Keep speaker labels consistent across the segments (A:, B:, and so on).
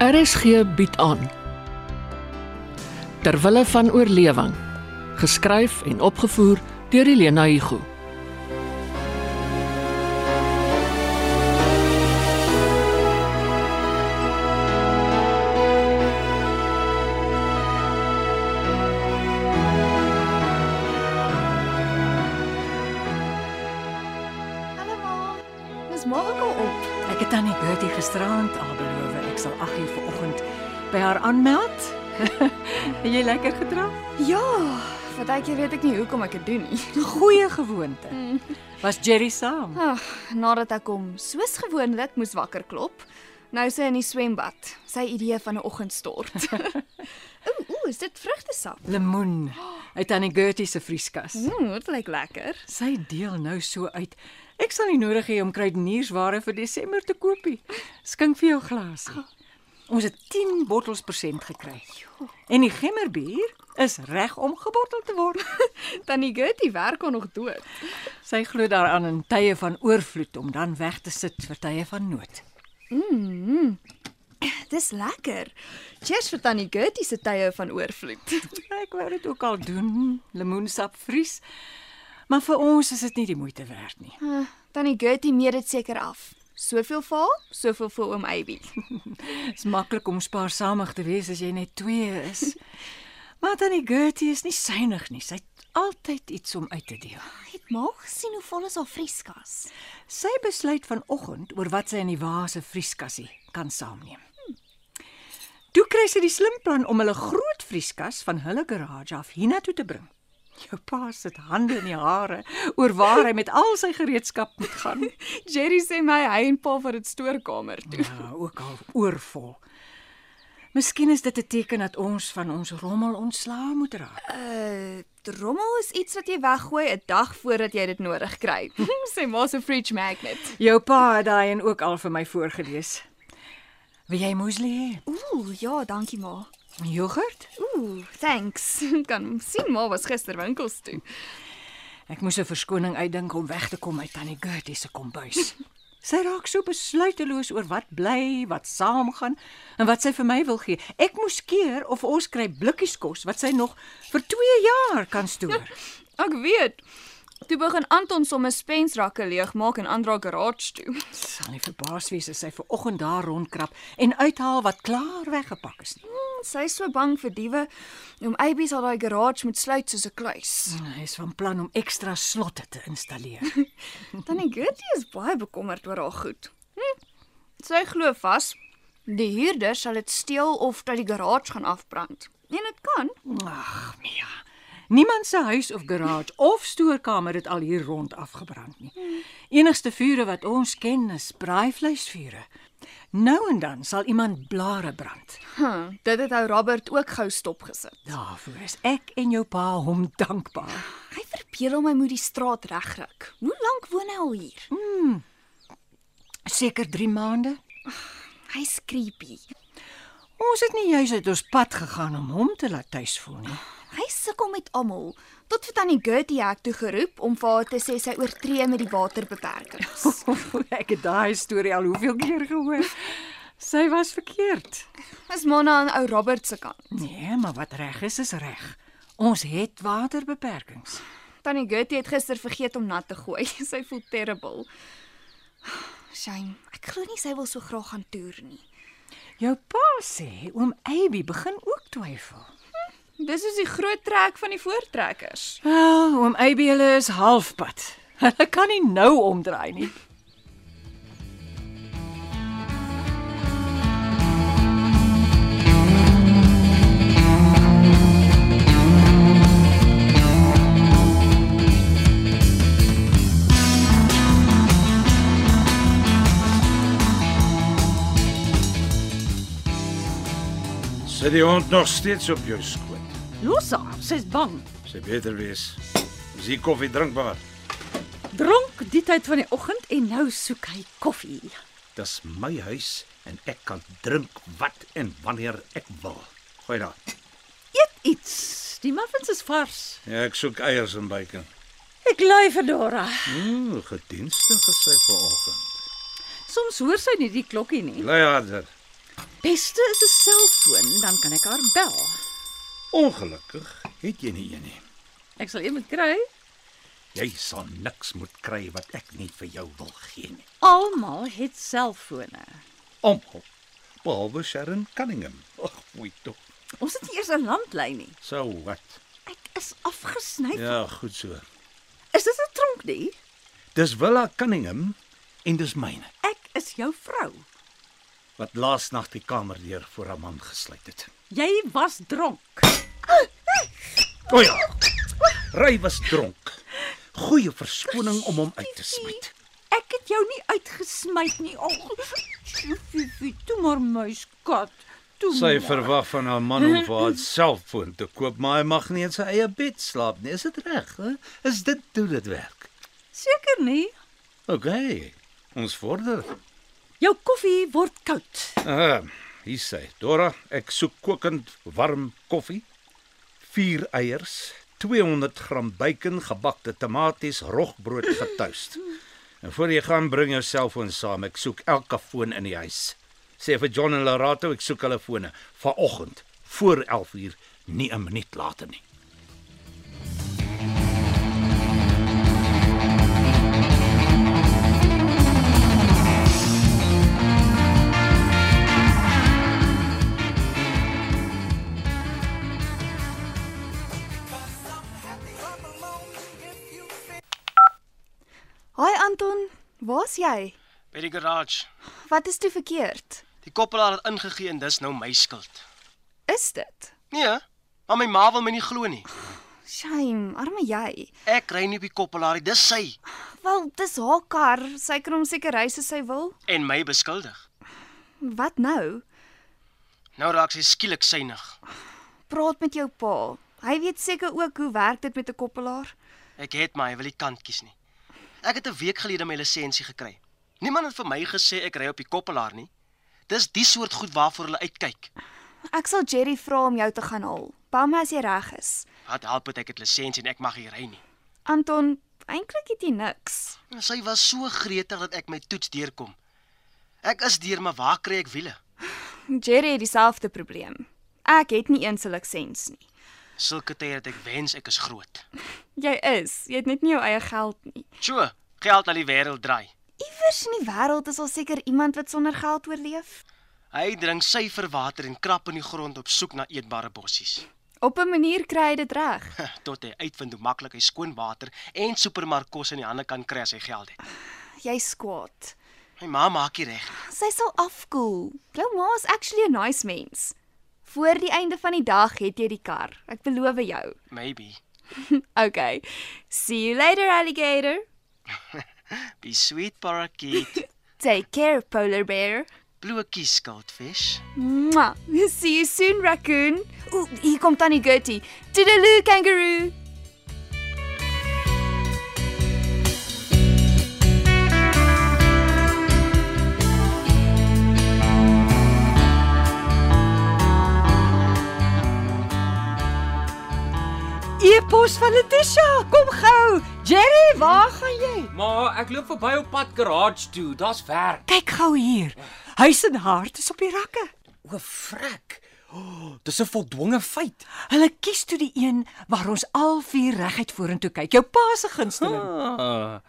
A: RSG bied aan Terwille van oorlewing geskryf en opgevoer deur Elena Igu
B: Almal, dis maak al op.
C: Ek het tannie Gertie gisteraand al beloof ek sal 8:00 vanoggend by haar aanmeld. Het jy lekker gedra?
B: Ja, partykeer weet ek nie hoekom ek dit doen nie.
C: Goeie gewoonte. Was Jerry saam?
B: Ag, nadat ek hom soos gewoonlik moes wakker klop, nou sy in die swembad, sy idee van 'n oggendstort. Ooh, ooh, is dit vrugtesap?
C: Lemoen uit tannie Gertie se vrieskas.
B: Mmm, dit lyk lekker.
C: Sy deel nou so uit. Ek sal nie nodig hê om kruideniersware vir Desember te koop nie. Skink vir jou glasie. Ons het 10 bottels persent gekry. En die gemmerbier is reg om gebottel te word.
B: Tannie Gertie werk al nog dood.
C: Sy glo daaraan in tye van oorvloed om dan weg te sit vir tye van nood.
B: Dis lekker. Cheers vir Tannie Gertie se tye van oorvloed.
C: Ek wou dit ook al doen, lemoensap vries. Maar vir ons is dit nie die moeite werd nie.
B: Uh, Tannie Gertie meet dit seker af. Soveel vir haar, soveel vir oom Abby.
C: Dit is maklik om spaarsamig te wees as jy net twee is. Maar tannie Gertie is nie synig nie. Sy het altyd iets om uit te deel.
B: Het maar gesien hoe vol is haar vrieskas.
C: Sy besluit vanoggend oor wat sy in die wa se vrieskassie kan saamneem. Toe kry sy die slim plan om hulle groot vrieskas van hulle garage af hiernatoe te bring. Jou pa sit hande in die hare oor waar hy met al sy gereedskap moet gaan.
B: Jerry sê my hy en pa vir dit stoorkamer toe.
C: Ja, ook al oorvol. Miskien is dit 'n teken dat ons van ons rommel ontslae moet raak.
B: Uh, rommel is iets wat jy weggooi 'n dag voordat jy dit nodig kry. Sê maar so fridge magnet.
C: Jou pa het daai en ook al vir my voorgelees. Wil jy muesli hê?
B: Ooh, ja, dankie ma.
C: Jogurt?
B: Ooh, thanks. Kan sien ma was gister winkels toe.
C: Ek moes 'n verskoning uitdink om weg te kom uit tannie Gertie se kombuis. Sy raak so besluiteloos oor wat bly, wat saamgaan en wat sy vir my wil gee. Ek moes keer of ons kry blikkies kos wat sy nog vir 2 jaar kan stoor.
B: Ek weet. Toe begin Anton sommer Spence rakke leegmaak en aandra garage toe.
C: Sal nie verbaas wees as sy ver oggend daar rondkrap en uithaal wat klaar weggepak is nie.
B: Sy's so bang vir diewe. Oom Abby sal daai garage moet sluit soos 'n kluis.
C: En hy is van plan om ekstra slotte te installeer.
B: Tannie Gertie is baie bekommerd oor haar goed. Hm, sy glo vas die huurder sal dit steel of dat die garage gaan afbrand. En dit kan.
C: Ag, Mia. Niemand se huis of garage of stoorkamer het al hier rond afgebrand nie. Enigste vure wat ons ken is braaivleisvure. Nou en dan sal iemand blare brand.
B: Huh, dit het ou Robert ook gou stop gesit.
C: Daarvoor is ek en jou pa hom dankbaar.
B: Hy verbeel hom hy moet die straat regryk. Hoe lank woon hy al hier?
C: Seker 3 maande.
B: Hm? Hy's creepy.
C: Ons het nie juis uit ons pad gegaan om hom te laat tuis voel nie.
B: Hy sukkel met almal tot vir tannie Gertie hek toe geroep om vir haar te sê sy oortree met die waterbeperkings.
C: ek het daai storie al hoeveel keer gehoor. Sy was verkeerd.
B: Dis maar aan ou Robert se kant.
C: Nee, maar wat reg is is reg. Ons het waterbeperkings.
B: Tannie Gertie het gister vergeet om nat te gooi. Sy voel terrible. Shame. Ek glo nie sy wil so graag gaan toer nie.
C: Jou pa sê oom Abby begin ook twyfel.
B: Dis is die groot trek van die voortrekkers.
C: Wel, oom Abby hulle is halfpad. Hulle kan nie nou omdraai nie.
D: Sit die hond nog steeds op jou skoot.
E: Los haar, sy's bang.
D: Sy beter wees. Is die koffie drinkbaar?
E: Dronk die tyd van die oggend en nou soek hy koffie.
D: Dis my huis en ek kan drink wat en wanneer ek wil. Gooi daar.
E: Eet iets. Die muffins is vars.
D: Ja, ek soek eiers en bacon.
E: Ek lui vir Dora.
D: Ooh, gedienstig gesê vanoggend.
E: Soms hoor sy nie die klokkie nie.
D: Bly harder.
E: beste is 'n selfoon, dan kan ek haar bel.
D: Ongelukkig het jy nie een nie.
E: Ek sal iemand kry.
D: Jy sal niks moet kry wat ek nie vir jou wil gee nie.
E: Almal het selfone.
D: Almal behalwe Sharon Cunningham. Ag, mooi tog.
E: Ons het nie eers 'n landlyn nie.
D: So wat?
E: Ek is afgesny.
D: Ja, goed so.
E: Is dit 'n tronk nie?
D: Dis Willa Cunningham en dis myne
E: Ek is jou vrou.
D: wat laasnag die kamer deur voor haar man gesluit het.
E: Jy was dronk.
D: O ja. Ry was dronk. Goeie verskoning om hom uit te smyt.
E: Ek het jou nie uitgesmy nie. Ag, Fifi, toe maar my skat. Toe.
D: Sy
E: maar.
D: verwag van haar man om vir haar selfoon te koop, maar hy mag nie in sy eie bed slaap nie. Is dit reg? hè? Is dit hoe dit werk?
E: Seker nie.
D: OK. Ons vorder.
E: Jou koffie word koud.
D: Ah, hier sê Dora, ek soek kokend warm koffie, 4 eiers, 200 gram bacon, gebakte tomaties, rogbrood getoast. En voor jy gaan, bring jou selfoon saam. Ek soek elke foon in die huis. Sê vir John en Larato, ek soek hulle fone vanoggend voor 11uur, nie 'n minuut later nie.
B: Hoi Anton, waar's jy?
F: by die garage.
B: Wat is toe verkeerd?
F: Die koppelaar het ingegee en dis nou my skuld.
B: Is dit?
F: Nee, maar my ma wil my nie glo nie.
B: Shame, arme jy.
F: Ek ry nie op die koppelaar nie, dis sy
B: Wel, dis haar kar. Sy kan hom seker ry soos sy wil.
F: en my beskuldig.
B: Wat nou?
F: Nou raak sy skielik synig.
B: Praat met jou pa. Hy weet seker ook hoe werk dit met 'n koppelaar.
F: Ek het maar hy wil nie kant kies nie. Ek het 'n week gelede my lisensie gekry. Niemand het vir my gesê ek ry op die koppelaar nie. Dis die soort goed waarvoor hulle uitkyk.
B: Ek sal Jerry vra om jou te gaan haal. Bel my as jy reg is.
F: Wat help dit ek het lisensie en ek mag hier ry nie.
B: Anton, eintlik het jy niks.
F: Sy was so gretig dat ek my toets deurkom. Ek is deur, maar waar kry ek wiele?
B: Jerry het dieselfde probleem. Ek het nie eens 'n lisens nie.
F: Sulke tye dat ek wens ek is groot.
B: Jy is, jy het net nie jou eie geld nie.
F: Sjoe, geld al die wêreld draai.
B: Iewers in die wêreld is al seker iemand wat sonder geld oorleef.
F: Hy drink suiwer water en krap in die grond op soek na eetbare bossies.
B: Op 'n manier kry hy dit reg.
F: Tot hy uitvind hoe maklik hy skoon water en supermark kos in die hande kan kry as hy geld het.
B: Jy's kwaad.
F: My ma maak nie reg.
B: Sy sal afkoel. Jou ma is actually 'n nice mens. Voor die einde van die dag het jy die kar. Ek beloof jou.
F: Maybe.
B: Okay. See you later alligator.
F: Be sweet parakeet.
B: Take care polar bear.
F: Blokkie skildvis.
B: Mwah. See you soon raccoon. Ooh, hier kom tannie Gertie. Toodaloo kangaroo.
C: E-pos van Letitia, kom gou. Jerry, waar gaan jy?
G: Maar ek loop verby op pad garage toe. Daar's werk.
C: Kyk gou hier. Huis en hart is op die rakke.
G: O, frek. Oh, dis 'n voldwonge feit.
C: Hulle kies toe die een waar ons al vier reguit vorentoe kyk. Jou pa se gunsteling.
G: Ah,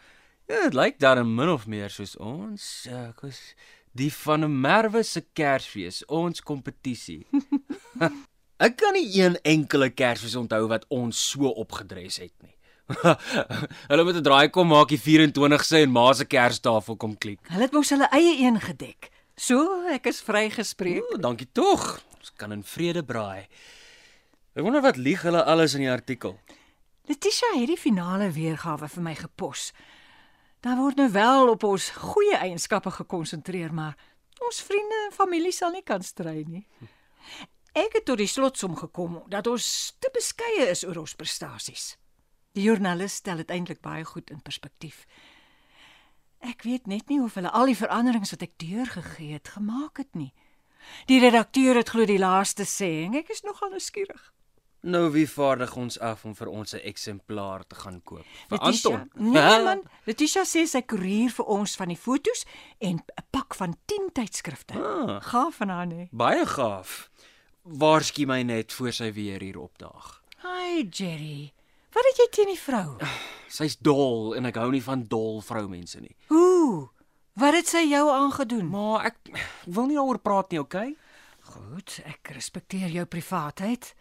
G: ja, dit lyk darem min of meer soos ons. Uh, kos die van 'n Merwe se Kersfees, ons kompetisie. ek kan nie een enkele Kersfees onthou wat ons so opgedres het nie. Hulle moet 'n draai kom maak die 24ste en ma se Kerstafel kom klik.
C: Hulle het mos hulle eie een gedek. So, ek is vrygespreek.
G: O, dankie tog. Ons kan in vrede braai. Ek wonder wat lieg hulle alles in die artikel.
C: Letitia het die finale weergawe vir my gepos. Daar word nou wel op ons goeie eienskappe gekonsentreer, maar ons vriende en familie sal nie kan strei nie. Ek het tot die slotsom gekom dat ons te beskeie is oor ons prestasies. Die joernalis stel dit eintlik baie goed in perspektief. Ek weet net nie of hulle al die veranderings wat ek deurgegee het gemaak het nie. Die redakteur het glo die laaste sê en ek is nogal nuuskierig.
G: Nou wie vaardig ons af om vir ons 'n eksemplaar te gaan koop? Vir
C: Letitia-
G: Anton.
C: Nee man, Letitia sê sy koerier vir ons van die fotos en 'n pak van 10 tydskrifte.
G: Ah.
C: Gaaf van haar nee. nê.
G: Baie gaaf. Waarsku my net voor sy weer hier opdaag.
C: Hi Jerry. Wat het jy teen die vrou?
G: Sy's dol en ek hou nie van dol vroumense nie.
C: Hoe? Wat het sy jou aangedoen?
G: Maar ek wil nie daaroor praat nie, okay?
C: Goed, ek respekteer jou privaatheid.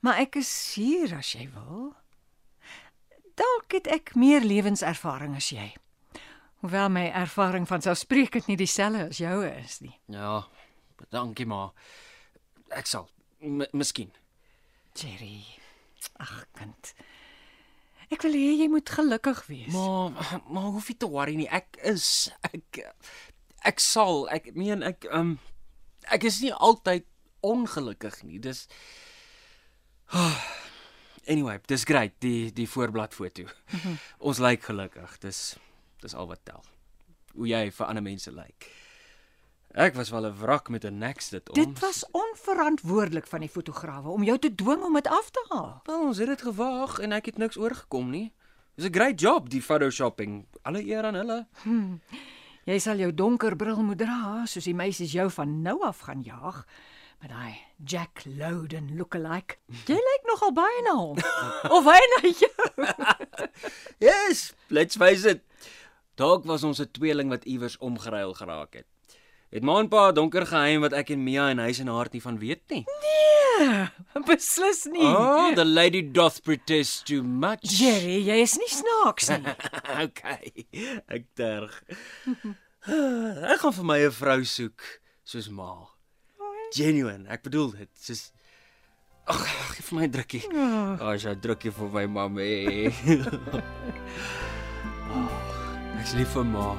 C: Maar ek is hier as jy wil. Dalk het ek meer lewenservaring as jy. Hoewel my ervaring van selfspreekend nie dieselfde as jou is nie.
G: Ja. Dankie maar. Ek sal M miskien.
C: Jerry. Ag kind. Ek wil hê jy moet gelukkig wees.
G: Maar maar hoef nie te worry nie. Ek is ek ek sal ek meen ek um ek is nie altyd ongelukkig nie. Dis ah, Anyway, dis great die die voorblad foto.
C: Mhm.
G: Ons lyk gelukkig. Dis dis al wat tel. Hoe jy vir ander mense lyk. Ek was wel 'n wrak met 'n nek dit om.
C: Dit was onverantwoordelik van die fotograwe om jou te dwing om dit af te haal.
G: Wel, ons het dit gewaag en ek het niks oorgekom nie. Dis 'n great job die photoshopping. Alle eer aan hulle.
C: Jy sal jou donker bril moet dra soos die meisies jou van nou af gaan jaag met daai Jack Loudon lookalike. Jy lyk nogal baie na hom. of hy na jou.
G: Yes, let's face it. Dalk was ons 'n tweeling wat iewers omgeruil geraak het. Het ma en pa 'n donker geheim wat ek en Mia en hy se hart nie van weet nie.
C: Beslis nie.
G: Oh, the lady doth protest too much.
C: Jerry, jy is nie snaaks nie.
G: okay. Ek terg. ek gaan vir my 'n vrou soek soos ma. Genuine. Ek bedoel dit. Soos Ag, gee vir my 'n drukkie. Ag, oh, jy drukkie vir my mamma. oh, ek's lief vir ma.